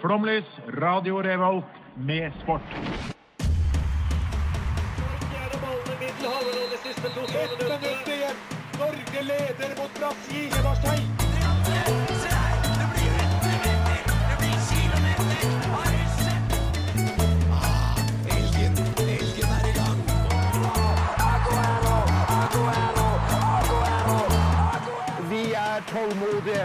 Flomlys, Radio Revolt med sport. Ett minutt igjen. Norge leder mot Brasil. Eberstein. Vi er tålmodige.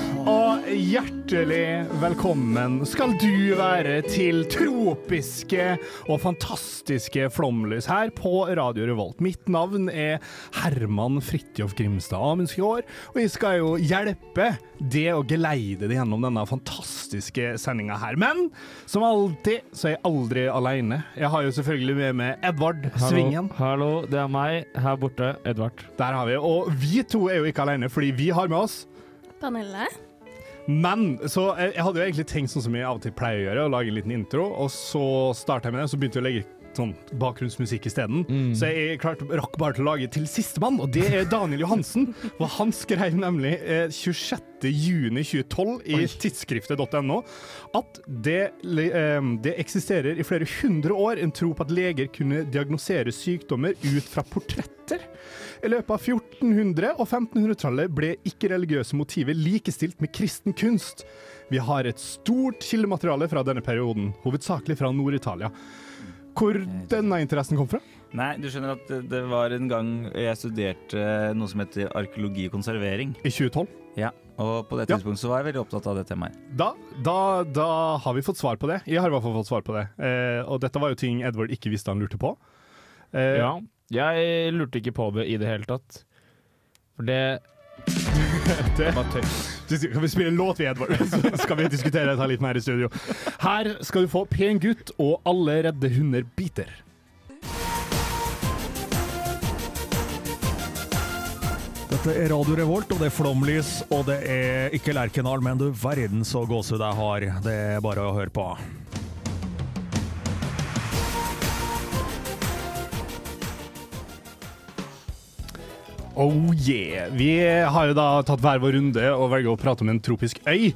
Og hjertelig velkommen skal du være til tropiske og fantastiske Flomlys her på Radio Revolt. Mitt navn er Herman Fridtjof Grimstad Amundsgaard, og jeg skal jo hjelpe det å geleide det gjennom denne fantastiske sendinga her. Men som alltid så er jeg aldri aleine. Jeg har jo selvfølgelig med meg Edvard Svingen. Hallo, det er meg her borte, Edvard. Der har vi. Og vi to er jo ikke alene, fordi vi har med oss Pernille? Men så eh, jeg, jeg hadde jo egentlig tenkt sånn som jeg av og til pleier å gjøre, å lage en liten intro, og så starta jeg med det, og så begynte jeg å legge sånn bakgrunnsmusikk isteden. Så jeg klarte, rakk bare til å lage til sistemann, og det er Daniel Johansen. Og han skrev nemlig eh, 26.6.2012 i tidsskriftet.no at det, le- eh, det eksisterer i flere hundre år en tro på at leger kunne diagnosere sykdommer ut fra portretter. I løpet av 1400- og 1500-tallet ble ikke-religiøse motiver likestilt med kristen kunst. Vi har et stort kildemateriale fra denne perioden, hovedsakelig fra Nord-Italia. Hvor denne interessen kom fra? Nei, du skjønner at det- det var en gang jeg studerte noe som heter arkeologi og konservering. I 2012. Ja. Og på det Ja. tidspunktet så var jeg veldig opptatt av det temaet. Da, da, da har vi fått svar på det. Jeg har i hvert fall fått svar på det. Eh, og dette var jo ting Edward ikke visste han lurte på. Eh, Ja. Jeg lurte ikke på det i det hele tatt. For det Du, Skal vi spille en låt, vi, Edvard? Så skal vi diskutere dette litt mer i studio. Her skal du få Pen gutt og Alle redde hunder biter. Dette er Radio Revolt, og det er flomlys, og det er ikke Lerkendal, men du verden så gåsehud jeg har. Det er bare å høre på. Oh yeah. Vi har jo da tatt hver vår runde og velger å prate om en tropisk øy.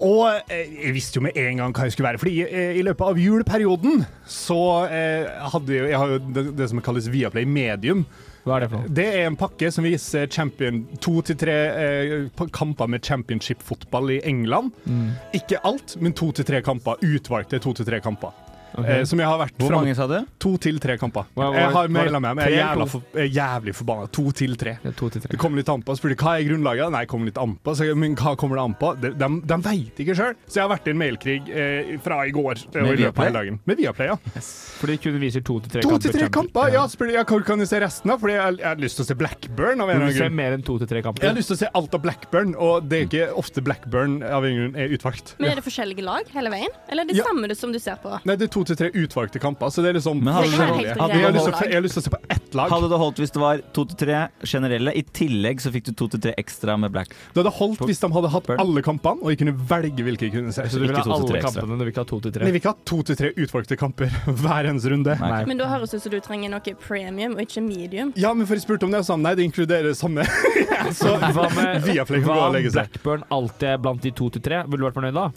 Og eh, jeg visste jo med en gang hva jeg skulle være, fordi eh, i løpet av juleperioden så eh, hadde jeg, jeg har jo det, det som kalles Viaplay Medium. Hva er det for noe? Det er en pakke som viser champion, to til tre eh, pa- kamper med championship-fotball i England. Mm. Ikke alt, men to til tre kamper. Utvalgte to til tre kamper. Eh, som jeg har vært Hvor fram- mange sa du? To til tre kamper. Hva- hva- jeg var har det maila meg, men jeg er tre eller jævla, for, jeg er jævlig forbanna. To til tre. Det er to til Det tre. kom litt an på. Jeg spurte hva er grunnlaget. Nei, kom litt an på. Så jeg, men hva kommer det an på? De, de, de veit ikke sjøl. Så jeg har vært i en mailkrig eh, fra i går. eh, og i løpet av Viaplay? hele dagen. Med Viaplay, ja. Fordi kun viser to til tre To kamper. til tre champion. kamper! Ja, spurte jeg hvor kan jeg se resten, da? Fordi jeg, jeg hadde lyst til å se Blackburn. av en Du eller annen vil se grunn. mer enn to til tre Jeg har kamper. lyst til å se alt av Blackburn, og det er ikke ofte Blackburn av en grunn er utvalgt. Men er det forskjellige lag hele veien? Eller er det Ja. samme du- som du ser på? Nei, det er to til tre utvalgte kamper, så det er liksom Men hadde Det det, kan være holdt, helt hadde, jeg, har det lyst til, holdt, å- jeg har lyst til å se på ett lag. hadde det holdt hvis det var to til tre generelle? I tillegg så fikk du to til tre ekstra med black. Det hadde holdt hvis de hadde hatt alle kampene, og jeg kunne velge hvilke jeg kunne se. Så du vil Ikke ha to til alle tre ekstra. kampene, du vil ikke ha to til Men tre. jeg vil ikke ha to til tre utvalgte kamper hver eneste runde. Nei. Men da høres det ut som du trenger noe premium og ikke medium. Ja, men for jeg spurte om det, og sa han, nei, det inkluderer det samme. så Hva med Viaplay kan gå hva og om legge seg. Blackburn alltid er blant de to til tre? Ville du vært fornøyd da?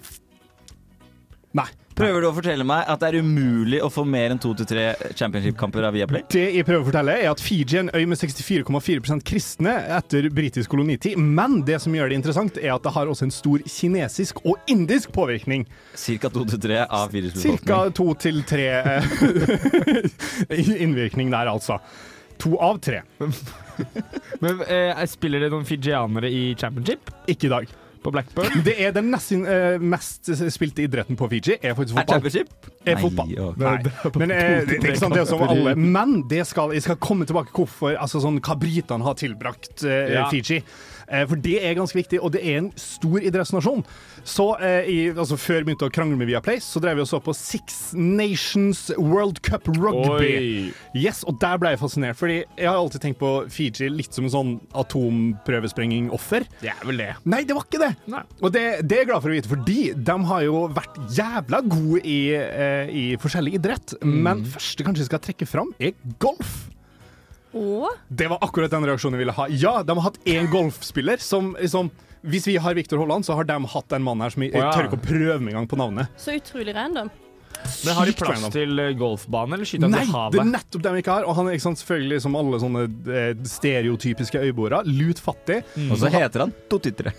Nei. Prøver du å fortelle meg at det er umulig å få mer enn to til tre championship-kamper av Viaplay? Det jeg prøver å fortelle, er at Fiji er en øy med 64,4 kristne etter britisk kolonitid. Men det som gjør det interessant, er at det har også en stor kinesisk og indisk påvirkning. Cirka to til tre av fire Cirka to til tre eh, innvirkning der, altså. To av tre. Men eh, Spiller det noen fijianere i championship Ikke i dag. på Blackburn? Det er den nest, eh, mest spilte idretten på Fiji, er faktisk Er fotball. championship? er fotball. Nei, ok. Nei. Men eh, det er ikke sant, det er som alle. Men det skal, jeg skal komme tilbake hvorfor, altså sånn hva britene har tilbrakt eh, Ja. Fiji. Eh, Eh, For det er ganske viktig, og det er en stor idrettsnasjon. Så eh, i, altså Før vi begynte å krangle med Viaplay, så drev vi og så på Six Nations World Cup Rugby. Oi. Yes, Og der ble jeg fascinert, fordi jeg har alltid tenkt på Fiji litt som en sånn atomprøvesprenging-offer. Det er vel det. Nei, det var ikke det! Nei. Og det, det er jeg glad for å vite, fordi de har jo vært jævla gode i, eh, i forskjellig idrett. Mm. Men første kanskje jeg skal trekke fram, er golf. Og Det var akkurat den reaksjonen jeg ville ha. Ja, de har hatt én golfspiller som liksom Hvis vi har Viktor Holland, så har de hatt en mann her som jeg, jeg Å, ja. tør ikke å prøve meg engang på navnet. så utrolig random. Men har de Sykt plass random. til eh, golfbane, eller skyter han Nei, til det er havet? nettopp dem ikke har. Og han er ikke sant, selvfølgelig, som alle sånne eh, stereotypiske øyeboere, lut fattig. Mm. Og så heter han Totitre.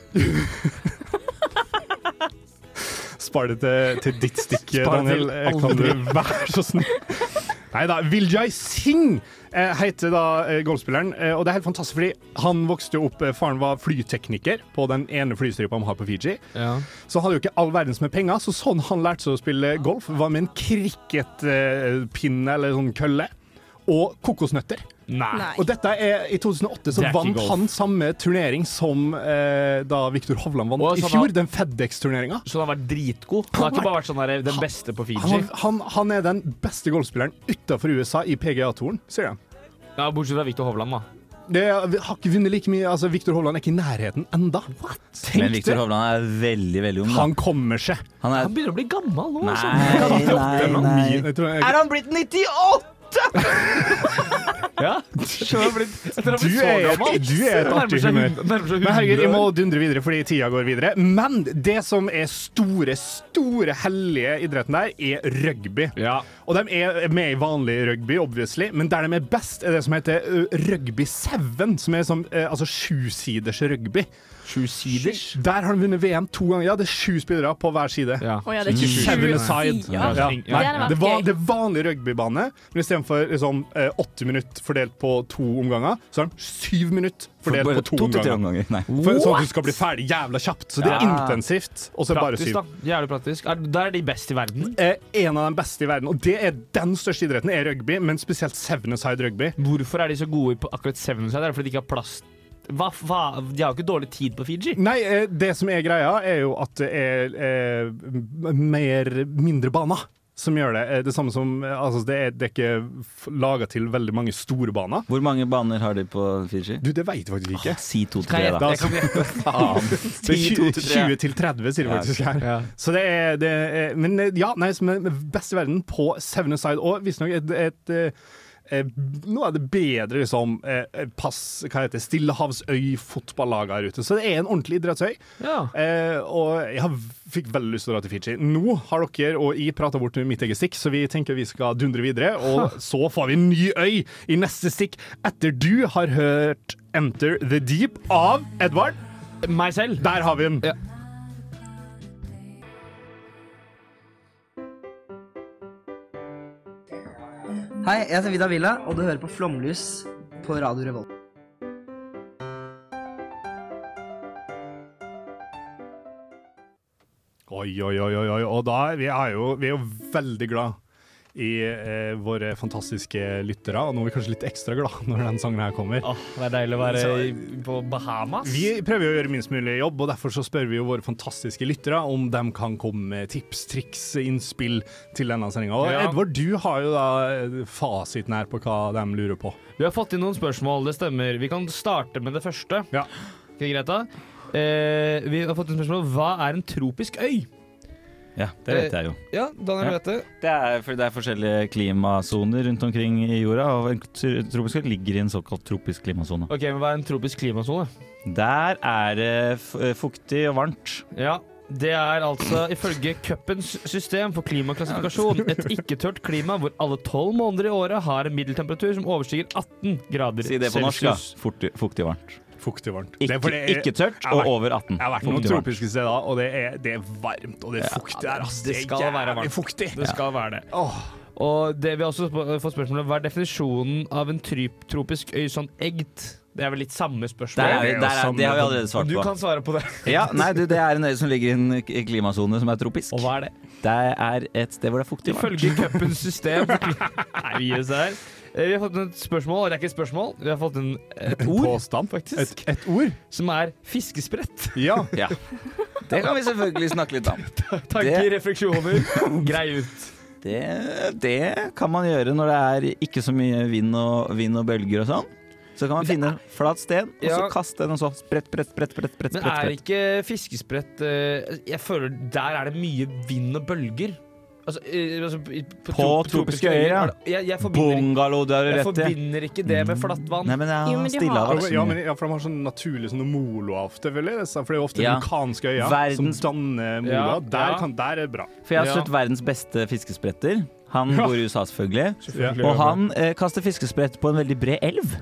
Spar det til, til ditt stikk, Spar det Daniel. til Eh, Kan du være så snill? Nei da. Viljay Singh eh, heter da eh, golfspilleren. eh, Og det er helt fantastisk, fordi han vokste jo opp eh, Faren var flytekniker på den ene flystripa han har på Fiji. Ja. Så han hadde jo ikke all verdens med penger, så sånn han lærte seg å spille golf, var med en cricketpinne eller sånn kølle. Og kokosnøtter. Nei. Nei. Ah, Og dette er i 2008, så Det er ikke vant golf. han samme turnering som eh, da Viktor Hovland vant Og i så fjor. han- Den FedEx-turneringa. Så han har vært dritgod? Han har ikke bare vært sånn der, den beste på Fiji? Han, han, han er den beste golfspilleren utafor USA i PGA-toren, sier de. Ja, Bortsett fra Victor Hovland, da. Det er, vi har ikke vunnet like mye. Altså, Viktor Hovland er ikke i nærheten enda. Men Tenk Viktor det! Hovland er veldig, veldig ung. da. Han kommer seg. Han er Han begynner å bli gammel nå. Nei, altså. nei, nei. Jeg tror jeg- Er han blitt 98?! Ja. Skjønner du, han har blitt- etter han har Du blitt så er- gammel. du er et Nærmer artig seg humør. hun- Nærmer seg Men herregud, vi 100 må år. dundre videre fordi tida går videre. Men det som er store, store hellige idretten der, er rugby. Ja. Og de er med i vanlig rugby, obviously, men der de er best, er det som heter ø, rugby seven, som er som, ø, altså sjusiders rugby. Sjusiders. Der har de vunnet VM to ganger. Ja, det er sju spillere på hver side. Ja. Å ja, det er Ikke ikke sju. Seven sju Mm. aside. sider. Ja. Nei, Det hadde vært det var gøy. det er vanlig rugbybane, men istedenfor liksom, ø, åtte minutter fordelt på to omganger, så har de syv minutter fordelt Bare på to, to til tre omganger. omganger. Nei. For, sånn at du skal bli ferdig jævla kjapt. Så det er Ja. intensivt. Og så er det bare syv. Praktisk, da. Jævlig praktisk. Er, der er de best i verden. Eh, en av de beste i verden, og det er den største idretten, er rugby, men spesielt seven-a-side rugby. Hvorfor er de så gode på akkurat Seven Side? Er det fordi de ikke har plass hva, hva? De har jo ikke dårlig tid på Fiji. Nei, eh, det som er greia, er jo at det er eh, m- mer mindre baner som gjør det. Eh, Det samme som eh, Altså, det er, det er ikke laga til veldig mange store baner. Hvor mange baner har de på Fiji? Du, det veit jeg faktisk ikke. sånn- Si to til Kan tre, jeg da. Ah, gjette? Jeg kan gjette. Det er 10, 20, 20 til 30, sier det Ja. faktisk her. Ja. Så det er, det er Men eh, ja, nei, som er best i verden på Seven Aside og visstnok et, et eh, eh, Noe av det bedre liksom eh, eh, pass Hva heter det? Stillehavsøy-fotballag her ute. Så det er en ordentlig idrettsøy. Ja. Eh, og jeg har, fikk veldig lyst til å dra til Fiji. Nå har dere og jeg prata bort mitt eget stikk, så vi tenker vi skal dundre videre. Og så får vi en ny øy i neste stikk etter du har hørt 'Enter the Deep' av Edvard. Eh, Meg selv. Der har vi den! Ja. Hei, jeg heter Vida Villa, og du hører på Flomlys på Radio Revolt. Oi, oi, oi, oi, oi. Og da, vi er jo, vi er jo veldig glad i eh, våre fantastiske lyttere, og nå er vi kanskje litt ekstra glad når den sangen her kommer. Åh, det er deilig å være i, på Bahamas. Vi prøver å gjøre minst mulig jobb, og derfor så spør vi jo våre fantastiske lyttere om de kan komme med tips, triks, innspill til denne sendinga. Og Ja. Edvard, du har jo da eh, fasiten her på hva de lurer på. Vi har fått inn noen spørsmål, det stemmer. Vi kan starte med det første. Ja. Ikke greit da? Eh, vi har fått inn spørsmål Hva er en tropisk øy? Ja, det vet jeg jo. Eh, Ja, Daniel Ja. vet det. Det er, for det er forskjellige klimasoner rundt omkring i jorda, og en tr- tropisk øy ligger i en såkalt tropisk klimasone. Ok, men Hva er en tropisk klimasone? Der er det f- eh, fuktig og varmt. Ja, Det er altså ifølge cupens system for klimaklassifikasjon et ikke-tørt klima hvor alle tolv måneder i året har en middeltemperatur som overstiger 18 grader Si det på norsk, da. celsius. Fuktig, fuktig og varmt. Fuktig og varmt. Ikke, Det er fordi jeg- ikke tørt jeg har og vært- over 18. Jeg har vært Fuktig noen og varmt. tropiske steder, og det er, det er varmt, og det er fuktig der. ass. det er skal være jævlig varmt. fuktig. Det skal være det. Åh. Og det vi har også sp- fått spørsmål om, hva er definisjonen av en tryp, tropisk øy sånn eggt? Det er vel litt samme Der spørsmål. er, vi- der er, det har vi allerede svart du på. kan svare på det. Ja, nei, du, det er en øy som ligger i en k- klimasone som er tropisk. Og hva er det? Det er et sted hvor det er fuktig og varmt. Ifølge cupens system Nei, vi gir oss her. Eh, Vi har fått et spørsmål, og det er ikke et spørsmål. Vi har fått en, eh, et ord, Påstand? faktisk, Et, et ord? som er fiskesprett. Ja. Ja. Det kan vi selvfølgelig snakke litt om. Tanker, refleksjoner, grei ut. Det, det kan man gjøre når det er ikke så mye vind og, vind og bølger og sånn. Så kan man finne et flatt sted, og så Ja. kaste den og så spredt, spredt, spredt, spredt, spredt, Men spredt, er spredt. ikke fiskesprett eh, Jeg føler der er det mye vind og bølger. Altså, eh, altså, i- På tropiske øyer, ja. er det- Jeg, jeg, forbinder, Bungalow, det har du jeg rett i. forbinder ikke det med flatt vann. Nei, men Jo, ja, men de har- Stillehavet. Ja, men, ja, for de har sånn naturlig sånn moloafte, vel? disse, For det er jo ofte Ja. vulkanske øyer Verdens- som danner moloa. Ja, Der, ja. kan, der er det bra. For jeg har Ja. sett verdens beste fiskespretter. Han bor i USA, selvfølgelig. Ja. Og han eh, kaster fiskesprett på en veldig bred elv.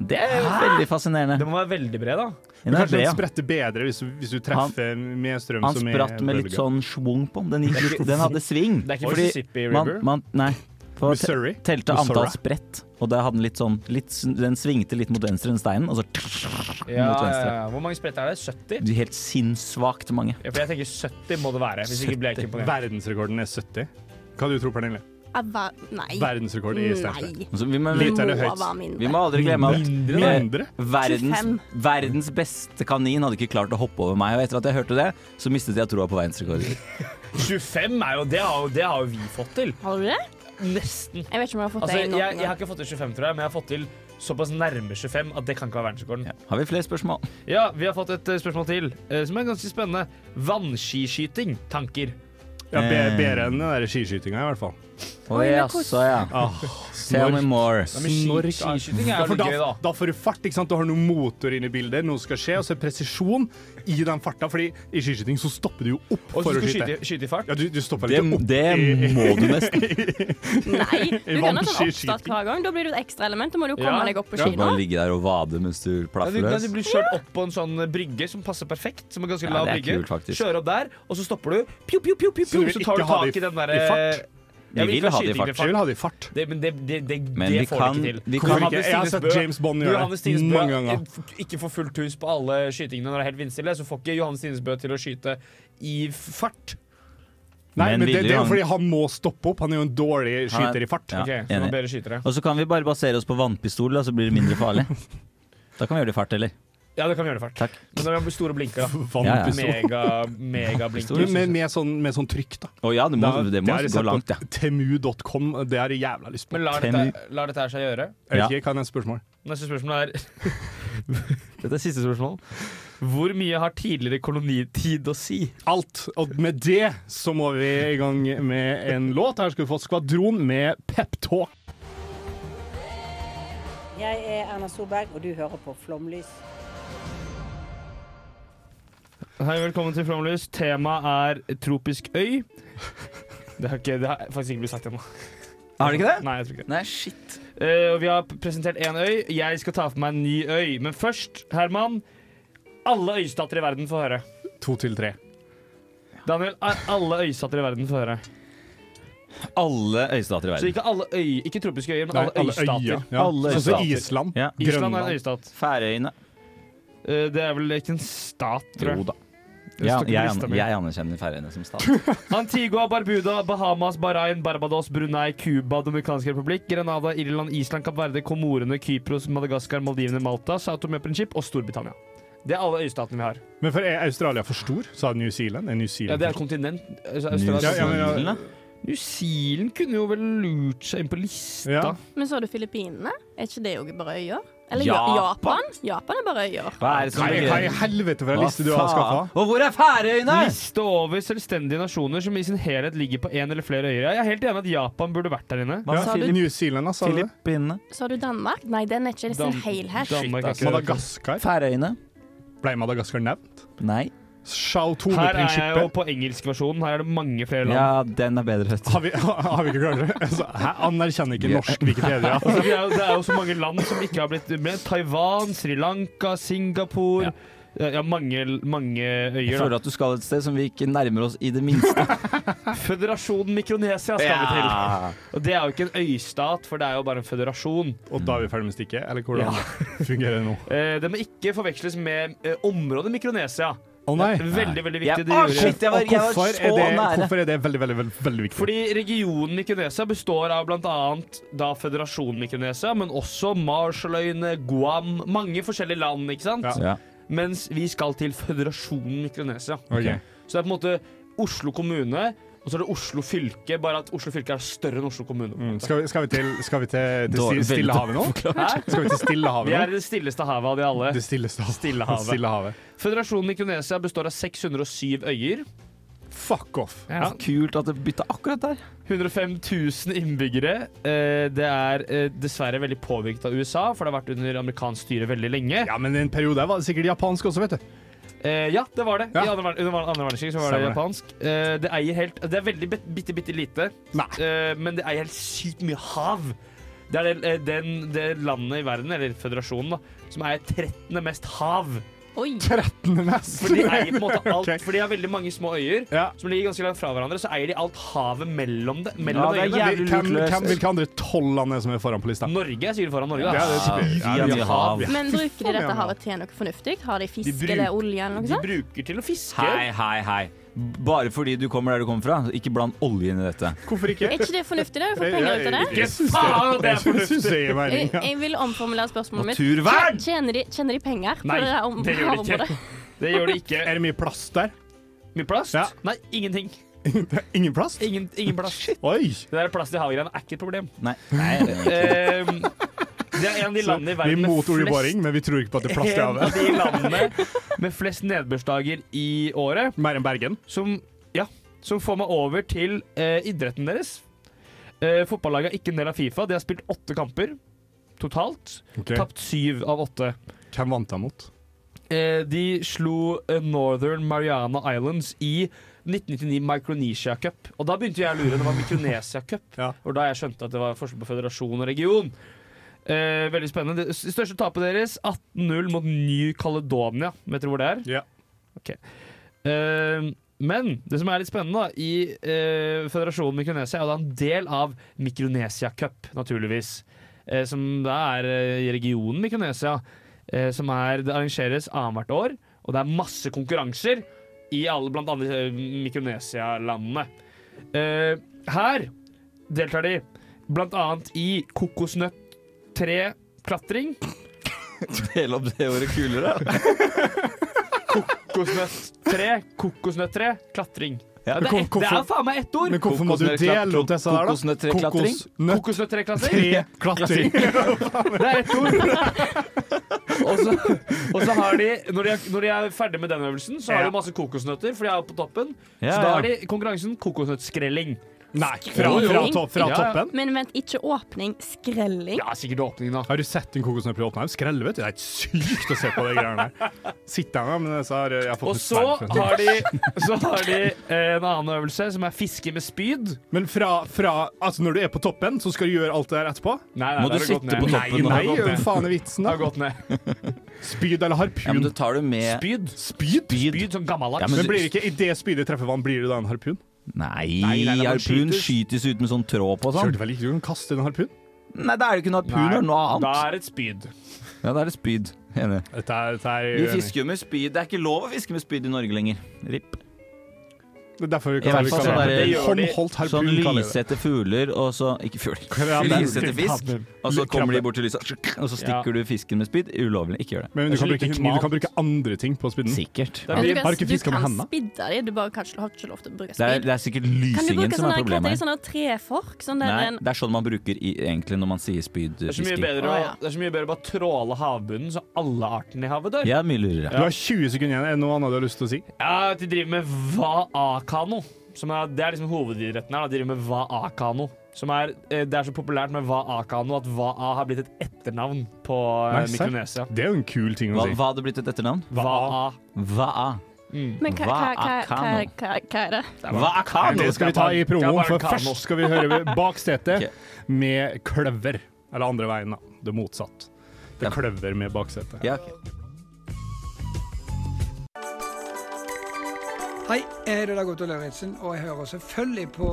Det er jo veldig Det fascinerende. må være veldig bred, da. Den er bred, Kanskje den ja. spretter bedre hvis, du- hvis du treffer med strøm Han som er spratt med litt bølger. sånn schwung på den. Den, gikk litt, den hadde sving. Det er ikke Fordi Mississippi man, River. man, Nei. På te- Missouri. telte Missouri. antall sprett, og der hadde den litt sånn litt, sn- Den svingte litt mot venstre enn steinen, og så ja, mot ja, venstre. ja. Hvor mange spretter er det? 70? de Helt sinnssvakt mange. Ja, for jeg tenker 70 må det være. Hvis ikke blir jeg ikke imponert. Verdensrekorden er 70. Hva du tror du, Pernille? Er ver- Nei. Verdensrekord i Nei. standup. Så vi, må, Litt Det eller må høyt. være vi mindre. må aldri glemme at eh, Mindre? verdens, 25. verdens beste kanin hadde ikke klart å hoppe over meg, og etter at jeg hørte det, så mistet jeg troa på verdensrekorder. 25 er jo det, har, jo- det har jo vi fått til. Har du det? Nesten. Jeg vet ikke om jeg har fått Altså, det jeg, i noen jeg har gang. ikke fått til 25, tror jeg, men jeg har fått til såpass nærme 25 at det kan ikke være verdensrekorden. Ja. Har vi flere spørsmål? Ja, vi har fått et eh, spørsmål til, eh, som er ganske spennende. Vannskiskyting. Tanker. Ja, be- Eh. bedre enn den der skiskytinga, i hvert fall. Å jaså, ja. Ah, Tell me more. Snork- skiskyting er Ja, for jo gøy, da. da, da får du fart. ikke sant? Du har noe motor inne i bildet, noe skal skje, og så er presisjon i den farta. fordi i skiskyting så stopper du jo opp Og for du å skal skyte. skyte, skyte i fart. Ja, du, du stopper Det, litt opp. det må du nesten. Nei, du kan ha sånn Vannskiskyting. oppstart hver gang. Da blir du et ekstraelement. Da må du jo Ja. komme deg opp på Du skiene. bare ligge der og vade mens du Ja, plaffer du, løs. du blir kjørt opp på en sånn eh, brygge som passer perfekt. Som er ganske Ja, lav det er brygge. kult, faktisk. Kjører opp der, og så stopper du. Pju, pju, pju, pju, Så pju, du vil så tar ikke du ha tak det i- i den eh, i derre fart? Vi vil ha det i fart. Jeg vil ha det i fart. Det, men det, det, det, Men det vi får kan, du ikke til. vi Hvorfor kan ikke? Jeg har sett James Bond gjøre Johannes det Tines Bø mange ganger. eh, ikke får fullt hus på alle skytingene når det er helt vindstille, så får ikke Johannes Tines Bø til å skyte i fart. Nei, Men men det, ville det er jo han- fordi han må stoppe opp. Han er jo en dårlig Han er- skyter i fart. Ja, Ok, så enig. man bedre skytere. Og så kan vi bare basere oss på vannpistol, da, så blir det mindre farlig. Da kan vi gjøre det i fart, eller? Ja, det kan vi gjøre i fart. Takk. Men når vi har store blinker, da. Ja, ja. Mega, mega blinker. Men Med, med, sånn, med sånn trykk, da. Å ja, det må, Da- det det må har gå jeg sett langt, på ja. Temu.com. Det har jeg jævla lyst på. Men lar Temi- dette, lar dette her seg gjøre? Jeg Ja. vet ikke, kan jeg ha et spørsmål? Neste spørsmål er Dette er siste spørsmål. Hvor mye har tidligere kolonitid å si? Alt. Og med det så må vi i gang med en låt. Her skal vi få Skvadron med peptalk. Jeg er Erna Solberg, og du hører på Flomlys. Hei, velkommen til Flomlys. Temaet er tropisk øy. Det har, ikke, det har faktisk ikke blitt sagt ennå. Har det ikke det? Nei, jeg tror ikke det. Nei, shit. Eh, og vi har presentert én øy. Jeg skal ta for meg en ny øy. Men først, Herman. Alle øystater i verden får høre. To til tre. Daniel, a- alle øystater i verden får høre. Alle øystater i Så verden. ikke alle øy, ikke tropiske øyer, men Nei, alle, øystater. Ja. Alle Sånn som øystater. Island. Ja. Island er Grønland. en øystat. Færøyene. Eh, det er vel ikke en stat, tror jeg. Jo da. Det Ja, står ikke på jeg, lista an- mi. jeg anerkjenner Færøyene som stat. Antigua, Barbuda, Bahamas, Bahrain, Barbados, Brunei, Cuba, Dominikansk republikk, Grenada, Irland, Island, Kapp Verde, Komorene, Kypros, Madagaskar, Maldivene, Malta, Sao Tome og Princip og Storbritannia. Det er alle øystatene vi har. Men for er Australia for stor, så er New Zealand. Er New Ja, Zealand det er for stor? kontinent. Altså, New Ja, Australia- ja, men ja. Zealand, da? New Zealand kunne jo vel lurt seg inn på lista. Ja. Men så har du Filippinene. Er ikke det også bare øyer? Eller Japan. Japan? Japan, Japan er bare øyer. Hva er det som Hva i- ligger hva i helvete for en liste du har skaffa? Og hvor er Færøyene?! Liste over selvstendige nasjoner som i sin helhet ligger på én eller flere øyer. Jeg er helt enig at Japan burde vært der inne. Ja, sa du? New Zealand, altså. sa du det? Filippinene. Så har du Danmark. Nei, den er ikke i sin Dam- helhet. Danmark er ikke- Madagaskar. Færøyene. Ble Madagaskar nevnt? Nei. Shao Her er jeg jo Tome-prinsippet. på engelskversjonen. Her er det mange flere land. Ja, den er bedre, vet du. Har vi, har vi ikke klart det? Altså, hæ? Anerkjenner ikke norsk Wikipedia. Altså, det, er jo, det er jo så mange land som ikke har blitt med. Taiwan, Sri Lanka, Singapore Eh, Ja, mange, mange Jeg øyer. føler Da. at du skal et sted som vi ikke nærmer oss i det minste. Føderasjonen Mikronesia skal vi til. Og det er jo ikke en øystat, for det er jo bare en føderasjon. Og da er vi ferdig med stikket? Eller hvordan fungerer det nå? Eh, det må ikke forveksles med eh, området Mikronesia. nei. Det er Veldig, veldig Ja. viktig. det Ah, gjorde- shit, jeg var- jeg var Og hvorfor så er det- nære. hvorfor er det veldig, veldig, veldig, veldig viktig? Fordi regionen Mikronesia består av bl.a. føderasjonen Mikronesia, men også Marshalløyene, Guam Mange forskjellige land, ikke sant? Ja. Ja. Mens vi skal til føderasjonen Mikronesia. Ok. Så det er på en måte Oslo kommune, og så er det Oslo fylke, bare at Oslo fylke er større enn Oslo kommune. på en måte. Skal vi, skal vi til, skal vi til, til Dårlig- Sti- Stillehavet nå? veldig dårlig forklart. Skal vi til Stillehavet Vi er i nå? det stilleste havet av de alle. Mm. Det stilleste havet. Stillehavet. Stillehavet. Føderasjonen Mikronesia består av 607 øyer. Fuck off. Ja. Kult at det bytta akkurat der. 105 000 innbyggere. Eh, Det er eh, dessverre veldig påvirket av USA, for det har vært under amerikansk styre veldig lenge. Ja, Men i en periode var det sikkert japansk også, vet du. Eh, ja, det var det. Ja. I andre, ver- under andre verdenskrig så var det Stemmer det. japansk. Eh, det eier helt Det er veldig bit- bitte, bitte lite, Eh, men det eier helt sykt mye hav. Det er det, eh, den, det landet i verden, eller føderasjonen, da, som eier 13. mest hav. Oi. 13. mest? For de eier på en måte alt For de har veldig mange små øyer som ligger ganske langt fra hverandre. Så eier de alt havet mellom, det, mellom øyene. hvem, hvem, hvilke andre tolv land er det som er foran på lista? Norge er sikkert foran Norge. da. Ja, det er typisk. Ah, Syv Ja, vi mye har- hav. vi har- Men bruker de Faen, dette ja. havet til noe fornuftig? Har de fisk De bruk- eller olje eller noe De sånt? bruker til å fiske. Hei, hei, hei. Bare fordi du kommer der du kommer fra, ikke bland olje inn i dette. Hvorfor Er ikke det fornuftig? da? Du får penger ut av det. faen, det er fornuftig! Jeg, jeg vil omformulere spørsmålet mitt. Naturvern! Tje- Tjener de, tjener de penger på Nei, det her om- det gjør de havområdet? ikke. Det gjør de ikke. Er det mye plast der? Mye plast? Nei, ingenting. Ingen plast? Ingen, ingen plast. Oi! Det der plast i havet-greiene er ikke et problem. Nei. Eh, Ehm, det er en av de Så landene i vi er verden imot oljeboring, flest, men vi tror ikke på at det er plast i en av havet. de landene med flest nedbørsdager i året. Mer enn Bergen? Som, ja, som får meg over til eh, idretten deres. Eh, fotballaget er ikke en del av Fifa. De har spilt åtte kamper totalt. Ok. Tapt syv av åtte. Hvem vant han mot? Eh, de slo eh, Northern Mariana Islands i 1999 Micronesia Cup. Og da begynte jeg å lure. Det var Micronesia Cup. Og da jeg skjønte at det var forskjell på føderasjon og region. Eh, veldig spennende. Det s- største tapet deres, 18-0 mot New Caledonia. Vet dere hvor det er? Ja. Ehm, men det som er litt spennende da, i eh, føderasjonen Mikronesia, er jo da en del av Mikronesia Cup, naturligvis. Eh, som da er eh, i regionen Mikronesia eh, som er, det arrangeres annethvert år, og det er masse konkurranser i alle, blant annet eh, Mikronesia-landene. Eh, her deltar de blant annet i kokosnøtt-tre-klatring. Del opp det året kulere. Kokosnøtt-tre, kokosnøtt-tre, klatring. Ja, det, er Hvor- ett- det er hvorfor- faen meg ett ord! Men hvorfor må du dele opp disse der, da? Kokosnøtt-tre-klatring? Kokosnøtt- Kokosnøtt-tre-klatring. Tre-klatring. Det er ett ord. Og så, og så har de når, de er, når de er ferdig med den øvelsen, så har de masse kokosnøtter, for de er på toppen. Ja, så da ja. har de konkurransen kokosnøttskrelling. Nei, fra, fra, to, fra toppen? Men vent, ikke åpning, skrelling. Ja, sikkert åpningen, da. Har du sett en kokosnøtt bli åpna? Skrelle, vet du. Det er helt sykt å se på de greiene der. Sitter han der, men så har jeg- jeg har fått Og en så sverm for- har de, så har de eh, en annen øvelse, som er fiske med spyd. Men fra, fra Altså, når du er på toppen, så skal du gjøre alt det der etterpå? Nei, nei, Må da har du det gått sitte ned. på Nei, toppen nå? Det har nei, gått gjør ned. faen i vitsen, da. Har gått ned. Spyd eller harpun? Ja, men du tar det med Spyd. Spyd? Spyd som gammeldags. Ja, men, men du- blir det ikke, i det spydet treffer vann, blir det da en harpun? Nei, Nei, nei, nei, man harpun skytes. skytes ut med sånn tråd på og sånn. Kjørte vel ikke du kan kaste en harpun? Nei, da er det ikke noe harpun, Nei, det er noe Da annet. er det et spyd. Ja, da er det spyd. Enig. Dette er, dette er Vi fisker jo med spyd. Det er ikke lov å fiske med spyd i Norge lenger. Ripp. Det er derfor vi I kaller hvert det fall sånn kaller det der- håndholdt Sånn harpun. kaller vi det. lysete fugler, og så Ikke Ja, fugler. men- Lysete fisk. Og så kommer de bort til lyset, og så stikker du fisken med spyd. Ulovlig. Ikke gjør det. Men du kan, bruke kniv, du kan bruke andre ting på spydden. Sikkert. Men du Har kan, du ikke du fiska med kan hendene? spidde de, du bare kanskje har ikke lov til å bruke Det er, spidd. det er sikkert Kan du lysingen bruke som er sånne, hva heter de, problemet. her. sånne trefork? Sånn der Nei, en, det er sånn man bruker i, egentlig når man sier Det er så mye spydfisking. bedre å, det er så mye bedre å bare tråle havbunnen, så alle artene i havet dør. Ja, mye lurere. Du har 20 sekunder igjen. Er det noe annet du har lyst til å si? Ja, de driver med vaakano. Som er, det er liksom hovedidretten her. Da. De driver med vaakano. Som er, eh, det er så populært med vaakano at vaa har blitt et etternavn på eh, Nei, serr? Mikronesia. Det er jo en kul ting å Hva, si. hva hadde blitt et etternavn? Vaa. Vaa. men hva, hva, hva, hva, Vaakano. hva, hva er det? Vaakano. Det skal vi ta i Det er promoen, bare for kano. først skal vi høre baksetet med kløver. Eller andre veien, da. Det motsatt. Det er kløver med baksetet. Ja, Hei, jeg heter Dag Otto Lauritzen, og jeg hører selvfølgelig på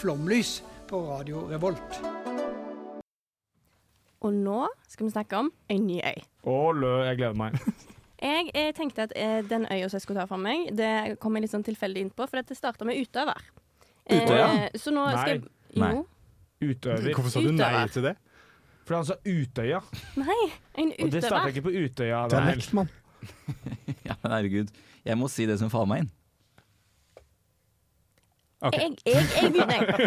Flomlys på Radio Revolt. Og nå skal vi snakke om en ny øy. Å, lø, jeg gleder meg. Jeg, eh, tenkte at eh, den øya som jeg skulle ta for meg, det kom jeg litt sånn tilfeldig inn på, for dette starta med utøver. Eh, Utøya? Så nå skal jeg Nei. Jo. Utøver. Hvorfor sa du nei Utøver. til det? Fordi han sa Utøya. Nei, en Og det starta utøver. ikke på Utøya. Det er vel? lekt, Ja, men herregud. Jeg må si det som faller meg inn. Jeg, jeg, jeg begynner, jeg.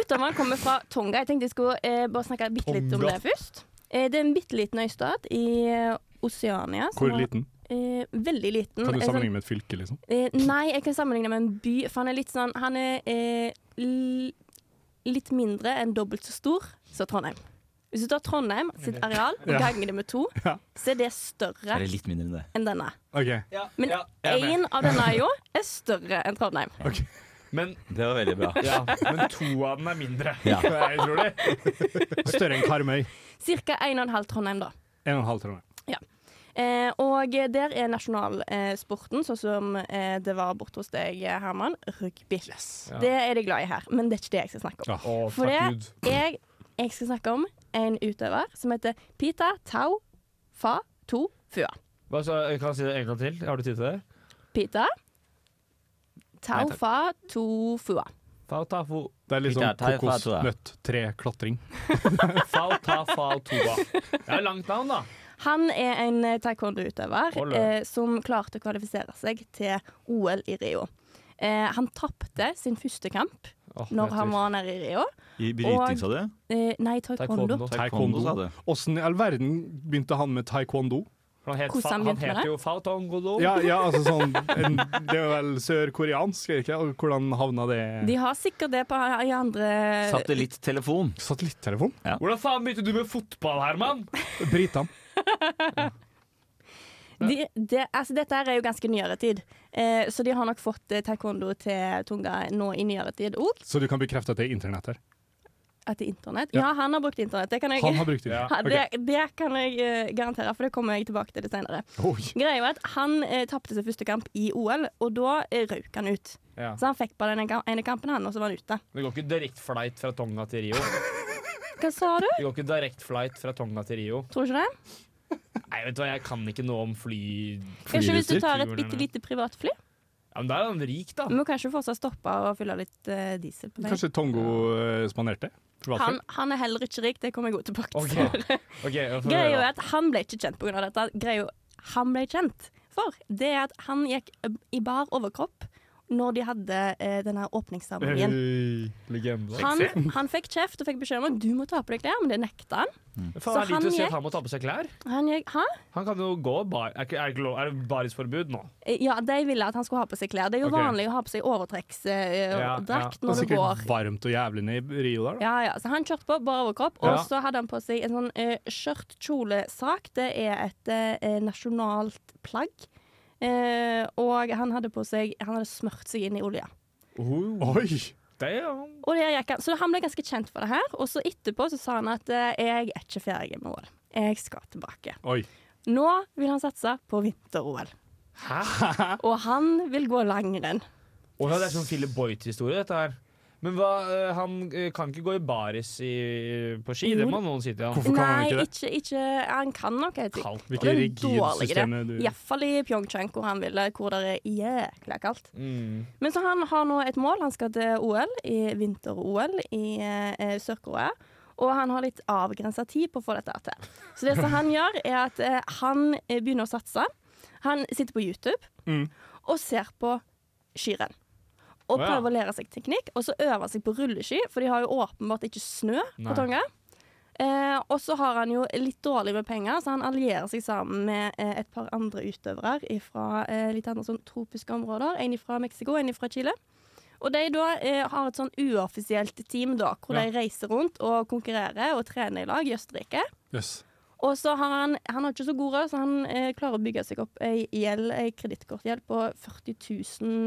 Utøveren kommer fra Tonga. Jeg tenkte jeg skulle eh, bare snakke bitte litt om Tonga. det først. Eh, det er en bitte liten øystat i eh, Oseania. som Hvor har- liten? Eh, veldig liten. Kan Eh, du sånn- sammenligne med et fylke, liksom? Eh, nei, jeg kan sammenligne med en by, for han er litt sånn Han er eh, l litt mindre enn dobbelt så stor som Trondheim. Hvis du tar Trondheim sitt areal og Ja. ganger det med to, så er det større Er det litt mindre enn det? enn denne. Ok. Men én av denne øya er større enn Trondheim. Men Det var veldig bra. Ja, men to av den er mindre. Ja. Det er utrolig. Større enn Karmøy. Cirka en og en halv Trondheim, da. En og en halv, tror jeg. Ja. Eh, og der er nasjonalsporten, sånn som eh, det var borte hos deg, Herman, rugby. Ja. Det er de glad i her, men det er ikke det jeg skal snakke om. Å, For takk det jeg, jeg skal snakke om en utøver som heter Pita Tau Fa To Fua. Hva sa, kan jeg si det en gang til? Har du tid til det? Pita Tau takk. Fa To Fua. Fau ta fo Det er litt Ikke sånn ta- ta- ta- kokosnøtt-tre-klatring. Fau ta fau toa. Det er langt navn, da. Han er en eh, taekwondo-utøver Ole. eh, som klarte å kvalifisere seg til OL i Rio. Eh, han tapte sin første kamp Åh, når han nettopp. var nede i Rio. I bryting, sa du? Eh, nei, taekwondo. Taekwondo, sa du. Åssen i all verden begynte han med taekwondo? Han het, Hvordan fa, han han begynte med heter det? jo Fau Tongodo. Ja, ja, altså sånn en, Det er vel sørkoreansk, er det ikke? Og Hvordan havna det De har sikkert det på, i andre Satellittelefon. Satellittelefon? Ja. Hvordan faen begynte du med fotball, Herman? Britene. De, det- altså, dette her er jo ganske nyere tid, eh, så de har nok fått eh, taekwondo til Tunga nå i nyere tid òg. Så du kan bekrefte at det er internett her? Etter internett. Ja. Ja. han har brukt internett. Det kan jeg, Han har brukt internett. Ja, Ok. det, det kan jeg eh, garantere, for det kommer jeg tilbake til det senere. Greia er at han eh, tapte sin første kamp i OL, og da eh, røk han ut. Ja. Så han fikk bare den ene- ene kampen, han, og så var han ute. Det går ikke direktflight fra Tonga til Rio. Hva sa du? Det går ikke direktflight fra Tonga til Rio. Tror du ikke det? Nei, vet du hva, jeg kan ikke noe om fly... Kanskje hvis du flyruter. tar et bitte lite privatfly? Ja, men da er han rik, da. Du må kanskje fortsatt stoppe og fylle litt eh, diesel på veien. Kanskje Tongo eh, spanderte? Privatfly? Han, han er heller ikke rik, det kommer jeg godt tilbake til. Ok, jeg får Greia høre. er at han ble ikke kjent pga. dette. Greia han ble kjent for, det er at han gikk eh, i bar overkropp når de hadde eh, denne åpningsseremonien. Eh, Hey, Legende. Han, han fikk kjeft og fikk beskjed om at du må ta på deg klær, men det nekta han. Faen, Så er det lite han å si at gikk- han må ta på seg klær? Han gikk, Hæ? Han kan jo gå bar... Er, ikke- er, ikke lov- er det barisforbud nå? Eh, Ja, de ville at han skulle ha på seg klær. Det er jo Ok. vanlig å ha på seg Ja, overtrekksdrakt ja. Det er når du går. sikkert varmt og jævlig nede i Rio der, da. Ja, ja. Så han kjørte på bare overkropp, og Ja. så hadde han på seg en sånn eh, skjørt-kjolesak. Det er et eh, nasjonalt plagg. Eh, og han hadde på seg Han hadde smurt seg inn i olje. Oi! Og der gikk han, så han ble ganske kjent for det her. Og så etterpå så sa han at eh, 'jeg er ikke ferdig med OL. Jeg skal tilbake'. Oi. Nå vil han satse på vinter-OL. Og han vil gå langrenn. Å ja, det er sånn Philip Boyt-historie, dette her. Men hva, eh, han eh, kan ikke gå i baris i, på ski, det må noen si til han. Nei, ikke, ikke Han kan nok, jeg tror. Kaldt. Hvilket rigid system er du- Mm. Iallfall i Pyeongchang, hvor han ville, hvor det er jækla kaldt. Mm. Men så han har nå et mål. Han skal til OL, i vinter-OL i eh, Sør-Korea. Og han har litt avgrensa tid på å få dette her til. Så det som han gjør, er at eh, han eh, begynner å satse. Han sitter på YouTube og ser på skirenn. Og Mm. Å, ja. prøver å lære seg teknikk, og så øver han seg på rulleski, for de har jo åpenbart ikke snø Nei. på Tonga. Eh, og så har han jo litt dårlig med penger, så han allierer seg sammen med eh, et par andre utøvere fra eh, litt andre sånn tropiske områder. En fra Mexico, en fra Chile. Og de da eh, har et sånn uoffisielt team, da, hvor Ja. de reiser rundt og konkurrerer og trener i lag i Østerrike. Jøss. Og så har han Han har ikke så god råd, så han eh, klarer å bygge seg opp ei gjeld, ei kredittkortgjeld på 40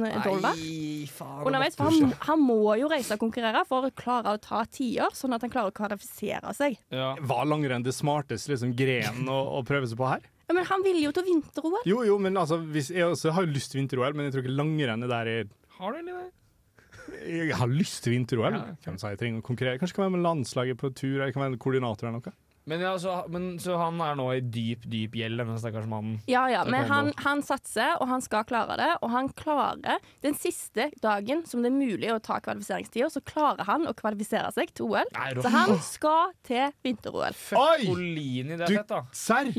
000 dollar. Nei, faen. Underveis, for han, han må jo reise og konkurrere for å klare å ta tider, sånn at han klarer å kvalifisere seg. Var langrenn det smarteste liksom, grenen å, å prøve seg på her? Ja, men han ville jo til vinter-OL. Jo, jo, men altså, hvis, jeg også har jo lyst til vinter-OL, men jeg tror ikke langrennet der er Har du egentlig det? Jeg har lyst til vinter-OL. Hvem sa jeg trenger å konkurrere? Kanskje kan jeg være med landslaget på tur, eller jeg kan være koordinator eller noe. Men, ja, så, men så han er nå i dyp, dyp gjeld, denne stakkars mannen. Ja, ja, Det men kommer han, nå. han satser, og han skal klare det. Og han klarer den siste dagen som det er mulig å ta kvalifiseringstida, så klarer han å kvalifisere seg til OL. Nei, rått. så han skal til vinter-OL. Olini, det er fett, da.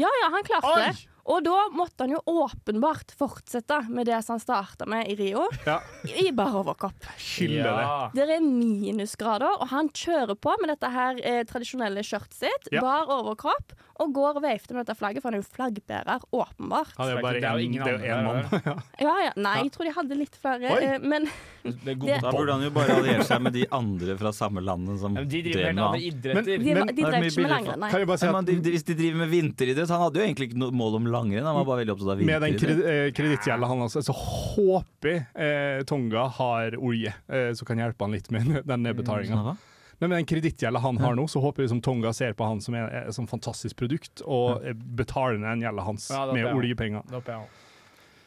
Ja, ja, han klarte Oi! det. Og da måtte han jo åpenbart fortsette med det som han starta med i Rio, Ja. i bare overkropp. Skylder det. Der er minusgrader, og han kjører på med dette her eh, tradisjonelle skjørtet sitt, Ja. bar overkropp, og går og veifter med dette flagget, for han er jo flaggbærer, åpenbart. Han er jo bare Det er jo en- ingen det er andre jo én mann. der, Ja. Ja, ja. Nei, jeg tror de hadde litt flere, Oi. eh, men Det er god Det- Da burde han jo bare alliere seg med de andre fra samme landet som Men de driver drev helt med andre annet. idretter. De- de det er mye drev ikke med billigere langrenn, for- nei. Kan jeg bare si Nei, men at- de, de, Hvis de driver med vinteridrett Han hadde jo egentlig ikke noe mål om langrenn, han var bare veldig opptatt av Med den vinteridrett. kredi- kredittgjelda han også, så håper jeg eh, Tonga har olje eh, som kan hjelpe han litt med den nedbetalinga. hva? Men med den kredittgjelda han har nå, så håper jeg liksom Tonga ser på han som er- er et sånt fantastisk produkt, og eh, betaler ned den gjelda hans Ja, det håper med jeg også. oljepenger. Det håper jeg også.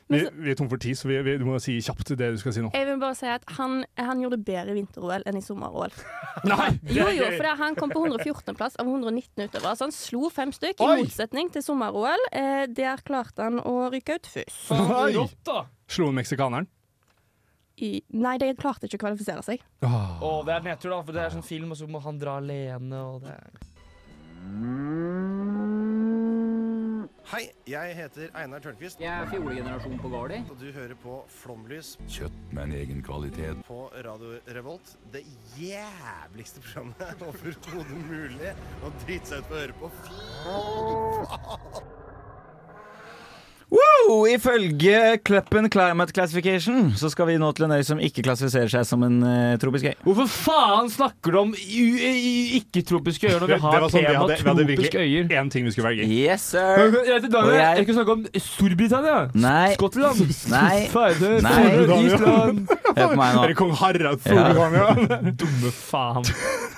Vi, vi er tom for tid, så vi, vi, du må si kjapt det du skal si nå. jeg vil bare si at han, han gjorde det bedre i vinter-OL enn i sommer-OL. Nei! Jo, jo, for det, han kom på 114.-plass av 119 utøvere, så han slo fem stykk, i Oi! motsetning til sommer-OL. Eh, der klarte han å ryke ut først. Oi! Rått, da! Slo han meksikaneren? I, nei, de klarte ikke å kvalifisere seg. Åh. Å, det er nedtur, da, for det er sånn film, og så må han dra alene, og det er Hei, jeg heter Einar Tørnquist. Jeg er fjolegenerasjon på Gardi. Og du hører på Flomlys Kjøtt med en egen kvalitet. på Radio Revolt. Det jævligste programmet overhodet mulig å drite seg ut på å høre på. Fy faen! Wow! Ifølge Kleppen Climate Classification så skal vi nå til en øy som ikke klassifiserer seg som en eh, tropisk øy. Hvorfor faen snakker du om u- i- i- ikke-tropiske øyer når sånn vi har tema tropiske øyer? én ting vi skulle velge. Yes, Jeg sir! heter Daniel. Eh, Og Jeg jeg- skal snakke om Storbritannia. Nei. Skottland. Nei. Færøy. Nei. Færøy, Island. Hør på meg nå. Er det kong Harald Ja. Solvang? Dumme faen.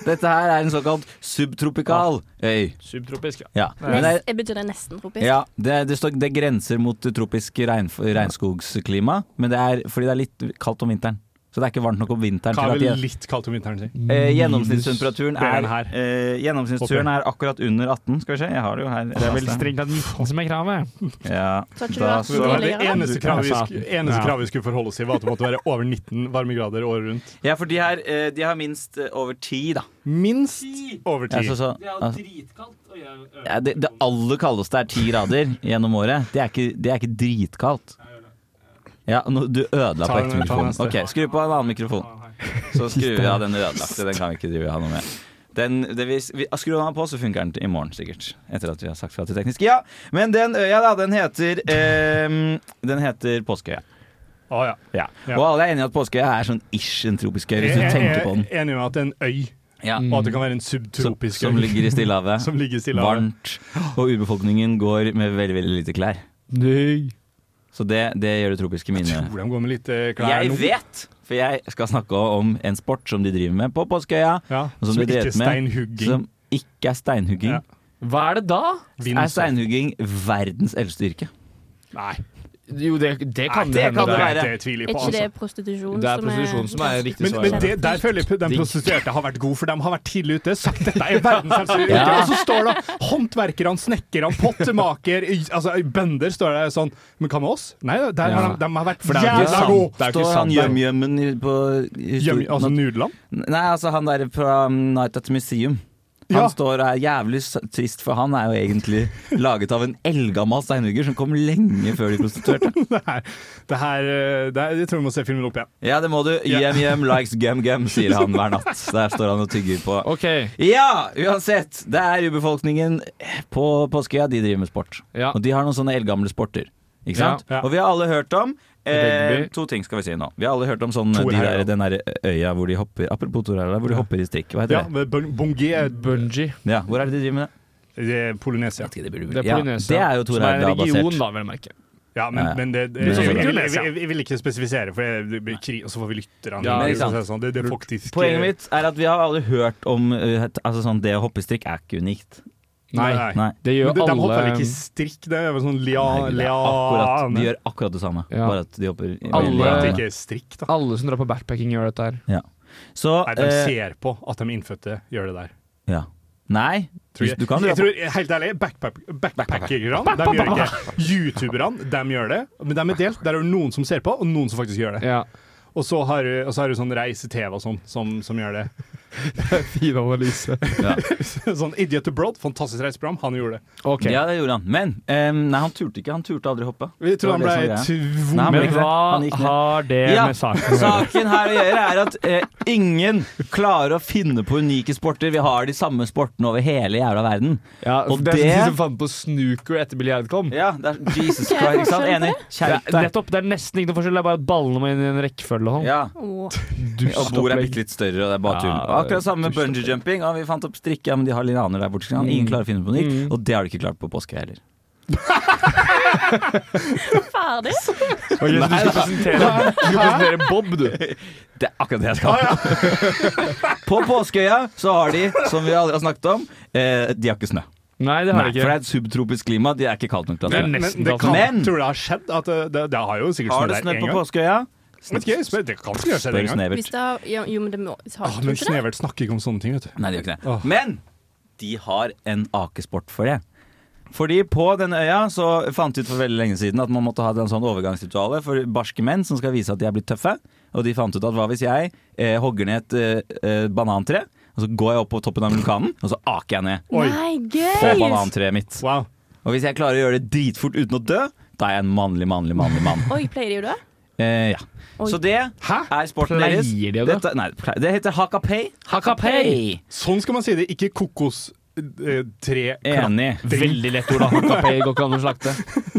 Dette her er en såkalt subtropikal øy. Subtropisk, Ja. Men det er, Nest, jeg betyr det er nesten tropisk. ja, det, er- det, står, det grenser mot det tropiske regn, regnskogsklima, men det er fordi det er litt kaldt om vinteren. Så det er ikke varmt nok om vinteren. Hva til er at de- vel litt kaldt om vinteren, si? Eh, gjennomsnittstemperaturen Bedre er, enn her. eh, gjennomsnittstemperaturen er akkurat under 18. Skal vi se, jeg har det jo her. Det er vel strengt tatt 19 som er kravet. Ja, Så tror jeg da at så Det var det Ja. eneste kravet vi, sk- eneste Ja. kravet vi skulle forholde oss til, var at det måtte være over 19 varmegrader året rundt. Ja, for de her eh, De har minst eh, over ti, da. Minst over ti. Ja, så, så, altså, ja, det, det aller kaldeste er ti grader gjennom året. Det er ikke, det er ikke dritkaldt. Ja, nå, du ødela på Ta den- ta den ektemikrofonen. neste. Ok, skru på en annen mikrofon. Så skrur vi av den ødelagte. Den kan vi ikke drive ha noe med. Den, det vi, vi, skru den av på, så funker den til i morgen sikkert. Etter at vi har sagt fra til teknisk. Ja, men den øya, da, den heter ehm, Den heter Påskeøya. Å ja. Ja. Ja. Og alle er enige i at Påskeøya er sånn ish en tropisk øy, hvis du Jeg- jeg- tenker på den. Jeg er enig med at det er en øy, Ja. og at det kan være en subtropisk Som øy. ligger i Stillehavet. Som ligger i Stillehavet. Varmt. Og urbefolkningen går med veldig, veldig lite klær. Nei. Så det, det gjør det tropiske minnet. Tror de går med litt eh, klær Jeg nå. vet! For jeg skal snakke om en sport som de driver med på Påskeøya. Ja, og som de drev ikke med- er steinhugging. Som ikke er steinhugging. Hva er det da? Er steinhugging verdens eldste yrke? Nei. Jo, det, det kan Nei, det det hende. kan det være. Det tviler Er jeg på, ikke det altså. prostitusjon Det er prostitusjon som er riktig Men, svar. men det, der føler jeg de prostituerte har vært gode, for de har vært tidlig ute. Sagt dette er verdens helste yrke. Ja. Og så står det håndverkerne, snekkerne, pottemaker, i- altså i bønder står det sånn. Men hva med oss? Nei, der har Ja. de, de har vært For det er jo ikke jævla sant. gode. Står han gjømgjømmen i- på i Gjøm- stor- Altså nat- Nudeland? Nei, altså han der fra um, Night at the Museum. Han Ja. står og er jævlig s- trist, for han er jo egentlig laget av en eldgammel steinhugger som kom lenge før de prostituerte. det her, det her eh, det, er- Jeg tror vi må se filmen opp igjen. Ja, det må du. Ja. Hjem, hjem, likes gum, gum, sier han hver natt. Der står han og tygger på. Ja, uansett. Det er urbefolkningen på Påskeøya. De driver med sport. Ja. Og de har noen sånne eldgamle sporter. Ikke sant? Ja. Ja. Og vi har alle hørt om eh, Rugby. to ting skal vi si nå. Vi har alle hørt om sånn, Thor de Heyerdahl. der, den der eh, øya hvor de hopper Apropos Tor Heyerdahl, hvor de hopper i strikk. Hva heter Ja, med bun- Bungee Bungee. det? Ja, Hvor er det de driver med det? Det er eh, Polynesia. Det er Ja, Polynesia. det er jo Tor som er en Heyerdahl-basert. region, da, vil jeg merke. Ja, Ja. men, men det, Men sånn jeg, som jeg, jeg, Indonesia. jeg, jeg vil ikke spesifisere, for jeg, det blir krig, og så får vi lytterne. Ja, det, ikke sant. er sånn, det, det er faktisk Poenget mitt er at vi har alle hørt om eh, at- Altså sånn, det å hoppe i strikk er ikke unikt. Nei. Nei. Det gjør Men de, de alle hopper vel ikke i strikk? Det er vel sånn lia... Nei, det er lia akkurat, de gjør akkurat det samme, Ja. bare at de hopper i- Alle- At det i- ikke er strikk, da. Alle som drar på backpacking, gjør dette her. Ja. Så Nei, de eh, ser på at de innfødte gjør det der. ja. Nei. Tror ikke- Du kan dra jeg på- tror, helt ærlig, backpack- backpackerne de gjør ikke Youtuberne de gjør det, men de er delt. Der er det noen som ser på, og noen som faktisk gjør det. Og så har du og så har du sånn reise-TV og sånn som, som gjør det. Fin analyse. sånn Idiot Abroad, fantastisk reiseprogram, han gjorde det. Ja, det gjorde han. Men eh, nei, han turte ikke. Han turte aldri hoppe. Vi tror Det var han det som var ble greia. tvunget. Nei, han ble ikke det. Hva Han gikk ned. har det med saken å gjøre? Saken her å gjøre er at eh, ingen klarer å finne på unike sporter. Vi har de samme sportene over hele jævla verden. og det det, er som de som fant på snooker etter biljard kom. Ja, det er Jesus Hva er Christ, ikke sant? forskjellen på Enig. det? Skjerp Det er- deg. Nettopp. Det er nesten ikke noe forskjell, det er bare at ballene må inn i en rekkefølge. og sånn. Ja. Dust Og bordet er opplegg. bitte litt større, og det er bare tull. Ja, Og Akkurat samme med bungee jumping. Ja, vi fant opp strikke, ja, men de har linaner der borte. Ingen Mm. klarer å finne på noe nytt. Og det har de ikke klart på påske heller. Ferdig? Ok, så du skal presentere, du skal presentere Bob, du. Ah, Det er akkurat det jeg skal. På Påskeøya så har de, som vi aldri har snakket om, eh, de har ikke snø. Nei, det har de ikke. For det er et subtropisk klima. De er ikke kaldt nok til å ha Men, snø. men det kan, Men tror du det har skjedd? At det, det, det har jo sikkert Har det snødd der snødd en på gang. Påskeøya? Vet ikke, jeg spør, det kan sikkert ha skjedd Spør en gang. Snevert. Hvis det har, ja, jo, men det må Ah, har, tror men ikke det? Snevert snakker ikke om sånne ting, vet du. Nei, de gjør ikke det. Men de har en akesport for det. Fordi på denne øya så fant de ut for veldig lenge siden at man måtte ha en sånn overgangsrituale for barske menn som skal vise at de er blitt tøffe. Og de fant ut at hva hvis jeg eh, hogger ned et eh, eh, banantre, og så går jeg opp på toppen av vulkanen, og så aker jeg ned Nei, på gøy! banantreet mitt. Og hvis jeg klarer å gjøre det dritfort uten å dø, da er jeg en mannlig, mannlig, mannlig mann. Oi, pleier de jo det? Eh, ja. Oi. Så det er sporten Pleier deres. de å dø? Dette, nei, ple- det heter hakapei. Hakapei. Sånn skal man si det, ikke kokos... eh, Tre Enig. Veldig lett ord, da. Hakapei går ikke an å slakte.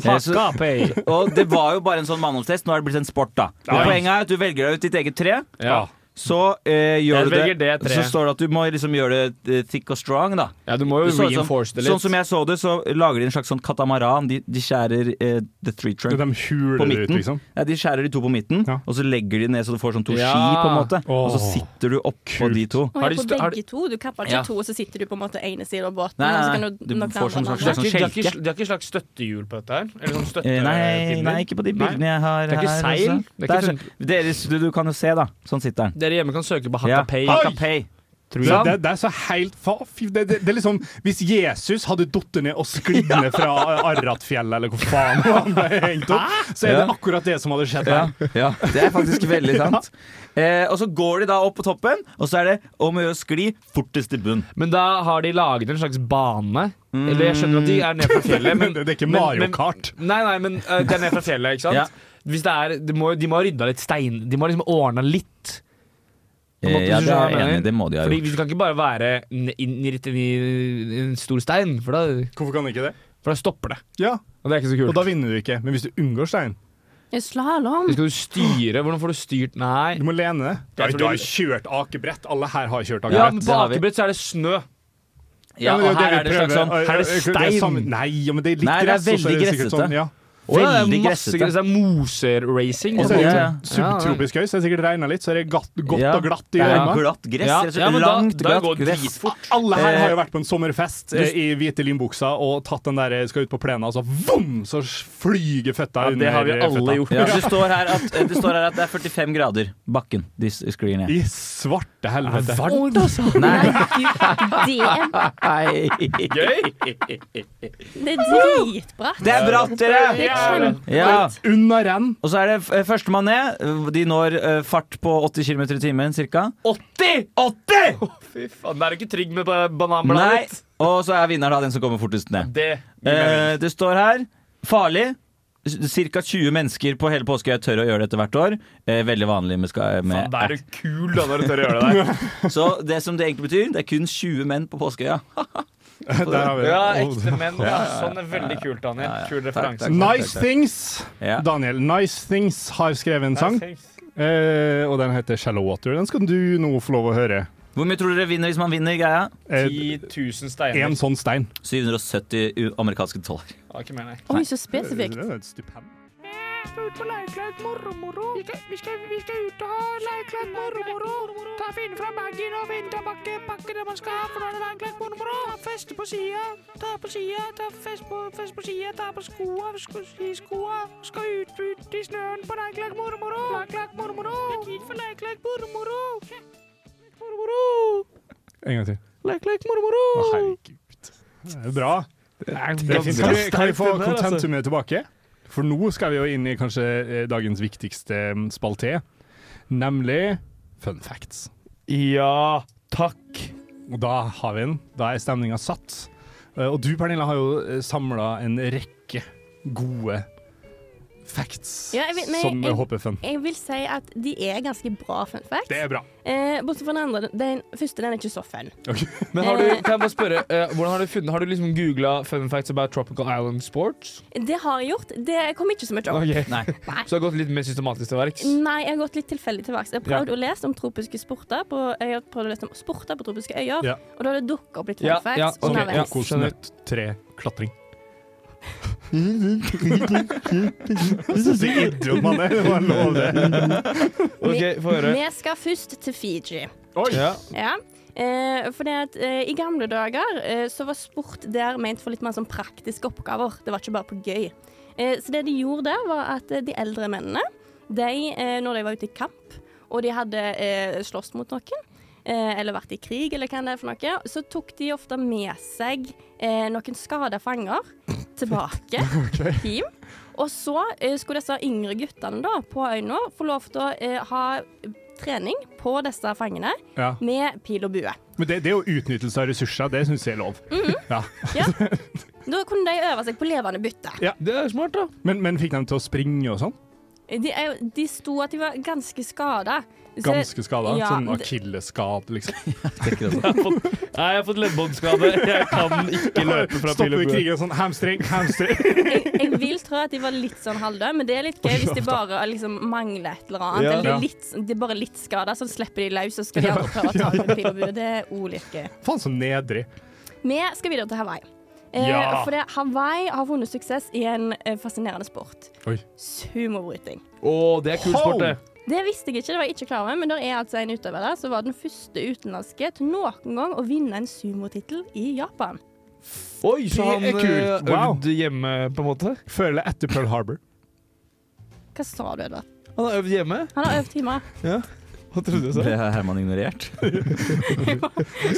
Hakapei. Og det var jo bare en sånn mannholdsfest. Nå er det blitt en sport, da. Og Ja. Poenget er at du velger deg ut ditt eget tre. Ja. Så eh, Jeg gjør du det, velger det treet. Så står det at du må liksom gjøre det eh, thick og strong, da. Ja, du må jo Du så reinforce sånn, det litt. Sånn som jeg så det, så lager de en slags sånn katamaran. De, de skjærer eh, the three trunk De huler på det ut, midten. liksom. Ja, de skjærer de to på midten, og så legger de ned så du får sånn to Ja. ski, på en måte. Og så Åh. sitter du oppå de to. Å, ja, på begge to? Du kapper ikke Ja. to, så sitter du på en måte ene siden av båten? Nei, og så nei, kan nei. Du nok den får som andre slags- lande. slags De har ikke, de har ikke slags støttehjul på dette her? Eller sånn støtte Eh, Nei, pinner? nei, ikke på de bildene Nei. jeg har Det er ikke her, seil? altså. Det er ikke Det er sånn- Deres, du, du kan jo se, da. Sånn sitter den. Dere hjemme kan søke på Ja, Hakapei. Hakapei. Det, det, det er så helt fa- fy- det, det, det er liksom Hvis Jesus hadde datt ned og sklidd ned fra Arratfjellet, eller hvor faen han ble hengt opp, så er det Ja. akkurat det som hadde skjedd Ja, her. ja, det er faktisk veldig sant. Eh, og så går de da opp på toppen, og så er det om å gjøre å skli fortest til bunn. Men da har de laget en slags bane. Eller jeg skjønner at de Mm. er ned fra fjellet, men Det- det er ikke men- Mario men- Kart. Nei, nei, men eh, det er ned fra fjellet, ikke sant? Ja. Hvis det er, de, må, de må ha rydda litt stein De må ha liksom ordna litt. På en Eh, måte, ja, hvis det du skjønner hva er jeg jeg mener. enig i. Det må de ha Fordi gjort. Vi kan ikke bare være n- inn i, i, i en stor stein, for da, Hvorfor kan ikke det? for da stopper det. Ja, Og det er ikke så Og kult. da vinner du ikke. Men hvis du unngår stein Ja, Slalåm! Hvis skal du styre, Hvordan får du styrt Nei. Du må lene deg. Du har, Jeg tror du har det- kjørt akebrett. Alle her har kjørt Ja, akebrett. men På akebrett så er det snø. Ja, men og jo her vi er det slags prøver. sånn her er det Og- og- stein. samme- Nei, ja, men det er litt Nei, det er gress. og så veldig sikkert gressete. Sånn, ja. Å, ja, det Veldig er masse gressete. gress. Det er moseracing. Og så er på en det måte. Ja, sånn subtropisk høy, så det sikkert regna litt, så er det godt, godt Ja. og glatt i Det er øynene. glatt gress. Ja, altså ja, men da- langt, da går glatt det gress. Alle her Eh, har jo vært på en sommerfest eh, i hvite limbuksa og tatt den der eh, skal ut på plenen, og så vom, så flyger føtta Ja, det har vi under, eh, alle føtta. gjort. Ja, det, står her at, eh, det står her at det er 45 grader bakken de s- sklir ned. I svarte helvete. Varmt, altså. Nei. Det, det er dritbratt. Det er bratt, Det dere! er kjempe- Ja. Unna renn. Og så er det eh, førstemann ned. De når eh, fart på 80 km i timen ca. 80! 80! Fy faen, da er du ikke trygg med ba- bananbladet Nei. ditt. Og så er vinneren da den som kommer fortest ned. Det Eh, det står her farlig. Ca. 20 mennesker på hele påskeøya tør å gjøre dette hvert år. Eh, veldig vanlig med, ska- Faen, med da er du kul da når du tør å gjøre det der. Så det som det egentlig betyr, det er kun 20 menn på påskeøya. Der har vi det. Ja, Oh, ekte menn. Ja, Ja, ja, ja. sånn er veldig kult, Daniel. Kul Takk, referanse. takk. Nice Things, Ja. Daniel. Nice Things har skrevet en sang, eh, og den heter Shallow Water. Den skal du nå få lov å høre. Hvor mye tror dere vinner hvis man vinner greia? Eh, 10 000 en steiner. sånn stein. 770 u- amerikanske dollar. Ja, ikke mer, nei. Oi, så spesifikt. Det er et stipend. En gang til. Lek, lek, moro, moro. Det er jo bra. Det er er fint. Kan vi, kan vi få Sterkt den der, altså. kontentumet tilbake? For nå skal vi jo inn i kanskje eh, dagens viktigste mm, spalte, nemlig fun facts. Ja, takk. Og da har vi den. Da er stemninga satt. Eh, Og du, Pernille, har jo samla en rekke gode facts Ja, jeg vil- men som jeg- jeg, håper er fun. Jeg vil si at de er ganske bra fun facts. Det er bra. Eh, bortsett fra den andre. Den første den er ikke så fun. Men har du, kan jeg bare spørre, eh, hvordan har du funnet Har du liksom googla fun facts about tropical island sports? Det har jeg gjort. Det kom ikke så mye opp. Ok. Så du har gått litt mer systematisk til verks? Nei, jeg har gått litt tilfeldig til verks. Jeg har prøvd Ja. å lese om tropiske sporter på, jeg har prøvd å lese om sporter på tropiske øyer, Ja. og da har det dukket opp litt fun Ja, facts. ja, ok, underveis. ja, kokosnøtt, tre, klatring. Så idiot man er, det må jeg love det. Ok, få høre. Vi skal først til Fiji. Oi. Ja. Ja. Eh, fordi at eh, I gamle dager eh, så var sport der ment for litt mer sånn praktiske oppgaver. Det var ikke bare på gøy. Eh, så det de gjorde der, var at eh, de eldre mennene, de, eh, når de var ute i kamp, og de hadde eh, slåss mot noen, eh, eller vært i krig, eller hva det er for noe, så tok de ofte med seg eh, noen skada fanger tilbake hjem. Og så eh, skulle disse yngre guttene da, på øya få lov til å eh, ha trening på disse fangene Ja. med pil og bue. Men det, det er jo utnyttelse av ressurser, det syns jeg er lov. Mhm. Ja. Da kunne de øve seg på levende bytte. Det er smart, da. Men, men fikk de til å springe og sånn? De, er jo- de sto at de var ganske skada. Ganske skada? Ja, sånn det- akillesskade, liksom? Nei, jeg har fått leddbåndskade. Jeg kan ikke løpe fra pil Stopper og vi bue. krigen sånn hamstring, hamstring Jeg vil tro at de var litt sånn halvdøde, men det er litt gøy hvis de bare liksom mangler et eller annet. Ja. Eller Ja. litt, de er bare litt skada, så slipper de løs og skal de andre prøve å ta dem med pil og bue. Det er òg litt gøy. Faen så nedrig. Vi skal videre til Hawaii. Eh, Ja. For det, Hawaii har vunnet suksess i en eh, fascinerende sport. Oi. Sumobryting. Å, det er kul sport, det. Det visste jeg ikke, det var jeg ikke klar over, men der er altså en utøver der som var den første utenlandske til noen gang å vinne en sumotittel i Japan. Oi, så han Det er kult. eh, Wow. øvde hjemme, på en måte? Før eller etter Pearl Harbor? Hva sa du, Edvard? Han har øvd hjemme? Han har øvd hjemme. Ja. Hva trodde du sa? Ble Herman ignorert?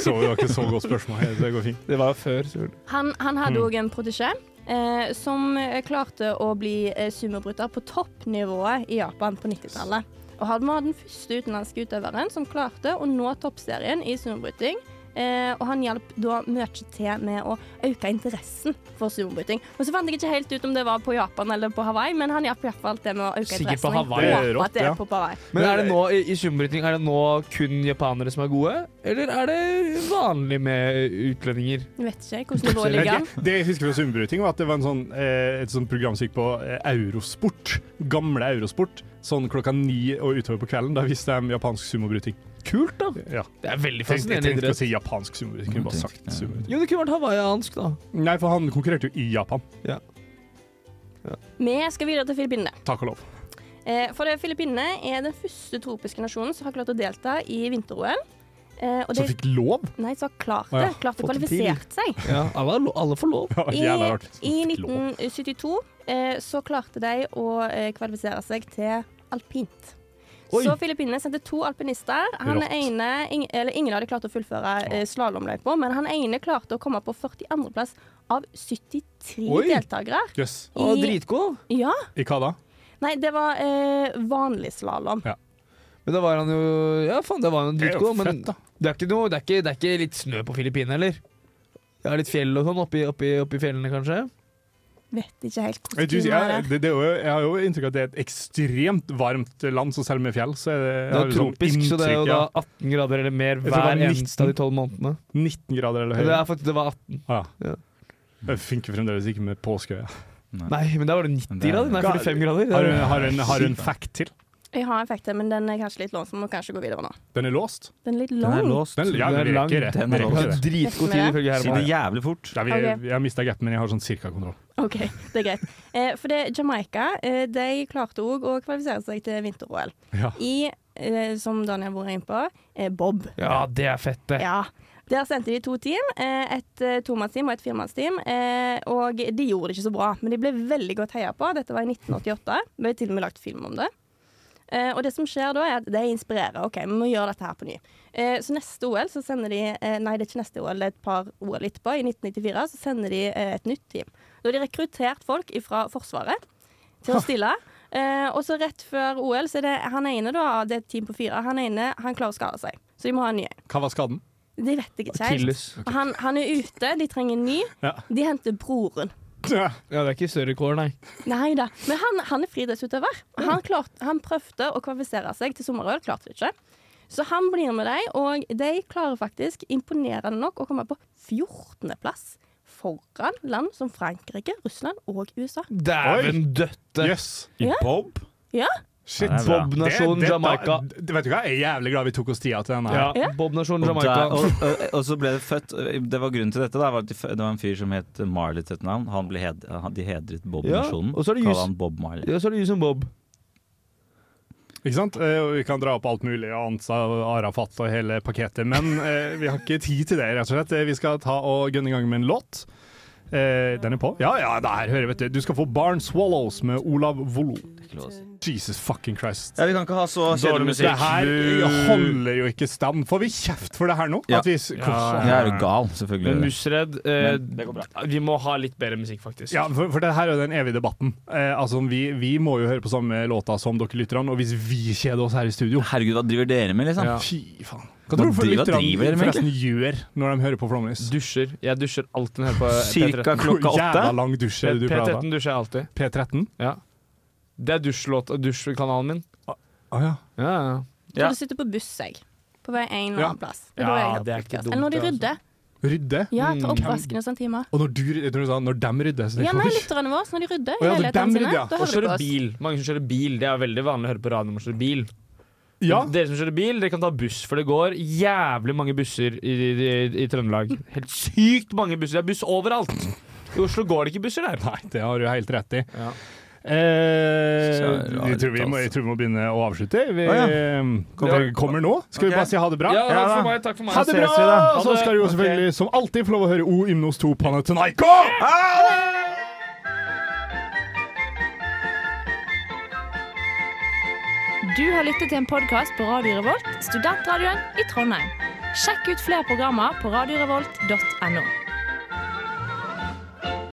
Så det var ikke så godt spørsmål. Det går fint. Det var jo før. Søren. Han, han hadde Mm. òg en protesjé eh, som eh, klarte å bli eh, sumobryter på toppnivået i Japan på 90-tallet. Og han var den første utenlandske utøveren som klarte å nå toppserien i sumobryting. Eh, og han hjalp da mye til med å øke interessen for sumobryting. Og så fant jeg ikke helt ut om det var på Japan eller på Hawaii, men han hjalp iallfall til med å øke Sikkert på interessen. Jeg Hawaii. håper Det er rått, at det ja. er på Hawaii. Men eh, er det nå i, i sumbryting, er det nå kun japanere som er gode, eller er det vanlig med utlendinger? Jeg vet ikke hvordan det lå i ligaen. Det jeg husker fra Sumbrutting, var at det var en sånn, eh, et sånt program som gikk på eh, Eurosport. Gamle Eurosport. Sånn klokka ni og utover på kvelden. Da viste de japansk sumobryting. Kult, da. Ja. Det er Jeg veldig tenkte- fascinerende Jeg tenkte ikke å idrett. si japansk sumobryting. Jeg Kunne bare sagt sumobryting. Jo, det kunne vært hawaiiansk, da. Nei, for han konkurrerte jo i Japan. Vi skal videre til Filippinene. Takk og lov. Eh, for det Filippinene er den første tropiske nasjonen som har klart å delta i vinter-OL. Eh, og Som de- fikk lov? Nei, som har klart Å ja, det. Klart å fått det kvalifisert seg. Ja, alle, har lo- alle får lov. Ja, I, jævla rart. I 1972 eh, så klarte de å eh, kvalifisere seg til alpint. Oi. Så Filippinene sendte to alpinister. Han Rått. ene, ing, eller ingen av de klarte å fullføre eh, slalåmløypa, men han ene klarte å komme på 42.-plass av 73 Oi. deltakere. Jøss. I- Dritgod. Ja. I hva da? Nei, det var eh, vanlig slalåm. Ja. Men da var han jo Ja, faen, det var han Det er jo dritgod. Men fett, da. det er, ikke noe, det, er ikke, det er ikke litt snø på Filippinene, eller? Det er litt fjell og sånn oppi, oppi, oppi fjellene, kanskje? Vet ikke helt Jeg, hvordan du, klimaet jeg, det, det er jo, jeg har jo inntrykk av at det er et ekstremt varmt land, så selv med fjell, så er det Det er jo sånn tropisk, så det er jo da 18 grader eller mer liksom Jeg tror det var hver 19. eneste av de 12 månedene. 19 grader eller Ja, Det, høyere. er faktisk, det var 18. Ah, ja. Det funker fremdeles ikke med påskeøya. Nei, men der var det 90 Det er- grader. Nei, 45 grader. Har du- har du en- har du en fact til? Jeg har en fact til, men den er kanskje litt lang, så vi må kanskje gå videre nå. Den er låst. Den er litt lang. Den, ja, Den er vi lang. rekker det. Den Vi er rekker låst. det. Dritgod tid, ifølge Herman. Si det jævlig fort. Ja, vi, Ok. Jeg har mista gapen, men jeg har sånn cirka kontroll. OK, det er greit. Eh, for det er Jamaica. Eh, de klarte òg å kvalifisere seg til vinter-OL. Ja. I, eh, som Daniel har vært inne på, eh, bob. Ja, det er fett, det. Ja. Der sendte de to team, eh, et eh, tomannsteam og et firemannsteam. eh, Og de gjorde det ikke så bra, men de ble veldig godt heia på. Dette var i 1988. Det ble til og med lagt film om det. Eh, Eh, og det som skjer da, er at de inspirerer. OK, vi må gjøre dette her på ny. Eh, så neste OL så sender de eh, Nei, det er ikke neste OL, det er et par OL etterpå. I 1994 så sender de eh, et nytt team. Da har de rekruttert folk fra Forsvaret til å stille. Eh, og så rett før OL så er det han ene, da, det er et team på fire, han ene han klarer å skade seg. Så de må ha en ny en. Hva var skaden? Det vet jeg ikke helt. Achilles. Og Han, han er ute, de trenger en ny. Ja. De henter broren. Ja, det er ikke større kår, nei. Nei da. Men han, han er friidrettsutøver. Han, klarte- han prøvde å kvalifisere seg til sommer-OL, klarte det ikke. Så han blir med dem, og de klarer faktisk, imponerende nok, å komme på 14.-plass foran land som Frankrike, Russland og USA. Dæven døtte! I Ja. bob? Ja. Eh, Shit. Ja, det er bra. Bob-nasjonen Det- det- Jamaica. da- det- Vet du hva, Jeg er jævlig glad vi tok oss tida til denne. her. Ja, Bob-nasjonen Og, der, Jamaica. og, og, og så ble det født Det var grunnen til dette. Da, var at de fø- det var en fyr som het Marley til et navn. Han ble hed, han- de hedret Bob-nasjonen. Ja, og så er det Kaller jus- han Bob Marley. Ja, så er det Usain Bob. Ikke sant? Eh, og vi kan dra opp alt mulig, Ansa, Arafat og hele pakketet, men eh, vi har ikke tid til det, rett og slett. Eh, Vi skal ta og gønne i gang med en låt. Eh, den er på? Ja, ja, der hører jeg, vet du. Du skal få Barn Swallows med Olav Volo. Jesus fucking Christ. Ja, vi kan ikke ha så kjedelig musikk. Det her holder jo ikke stand. Får vi kjeft for det her nå? Ja. At vi s- Jeg er jo gal, selvfølgelig. Men Musredd eh, Men det går bra. Vi må ha litt bedre musikk, faktisk. Ja, for, for det her er jo den evige debatten. Eh, altså, vi, vi må jo høre på samme låta som dere lytterne, og hvis vi kjeder oss her i studio Herregud, hva driver dere med, liksom? Ja. Fy faen. Hva tror du for Hva driver- driver lytterne dere med, forresten gjør når de hører på Flomlys? Dusjer. Jeg dusjer alltid når jeg hører på Cirka P13. klokka Hvor åtte? jævla lang dusj er det du P- pleier å ha? P13 dusjer jeg alltid. P13? Ja. Det er dusjlåt- dusjkanalen min. Å ja. Ja, ja. Så du sitter på buss, jeg. På vei en eller Ja. annen plass. Det er Ja, da jeg hører det er på ikke podcast. dumt, Eller når de det, altså. rydder. Rydde? Ja, til Mm. oppvaskene og sånne timer. Og når du, jeg tror du sa når dem rydder, så det Ja, er nei, ikke lytterne våre, når de Å, rydder i ja, når dem leilighetene sine, rydder, ja. da Og hører de kjøre på oss. bil. Mange som kjører bil. Det er veldig vanlig å høre på radio når man kjører bil. Ja. Dere som kjører bil, dere kan ta buss, for det går jævlig mange busser i, i, i- i Trøndelag. Helt sykt mange busser. Det er buss overalt. I Oslo går det ikke busser der. Nei, det har du helt rett i. Ja. Eh, Så rart, jeg, tror vi må, jeg tror vi må begynne å avslutte. Vi Å, ja. eh, kommer, kommer nå. Skal vi Ok. bare si ha det bra? Ja, takk da. for meg, takk for meg. Ha det Så ses bra! vi da. Ha Så det. skal du jo Ok. selvfølgelig som alltid få lov å høre O Ymnos 2 Panathenaiko! Du har lyttet til en podkast på Radio Revolt, studentradioen i Trondheim. Sjekk ut flere programmer på radiorevolt.no.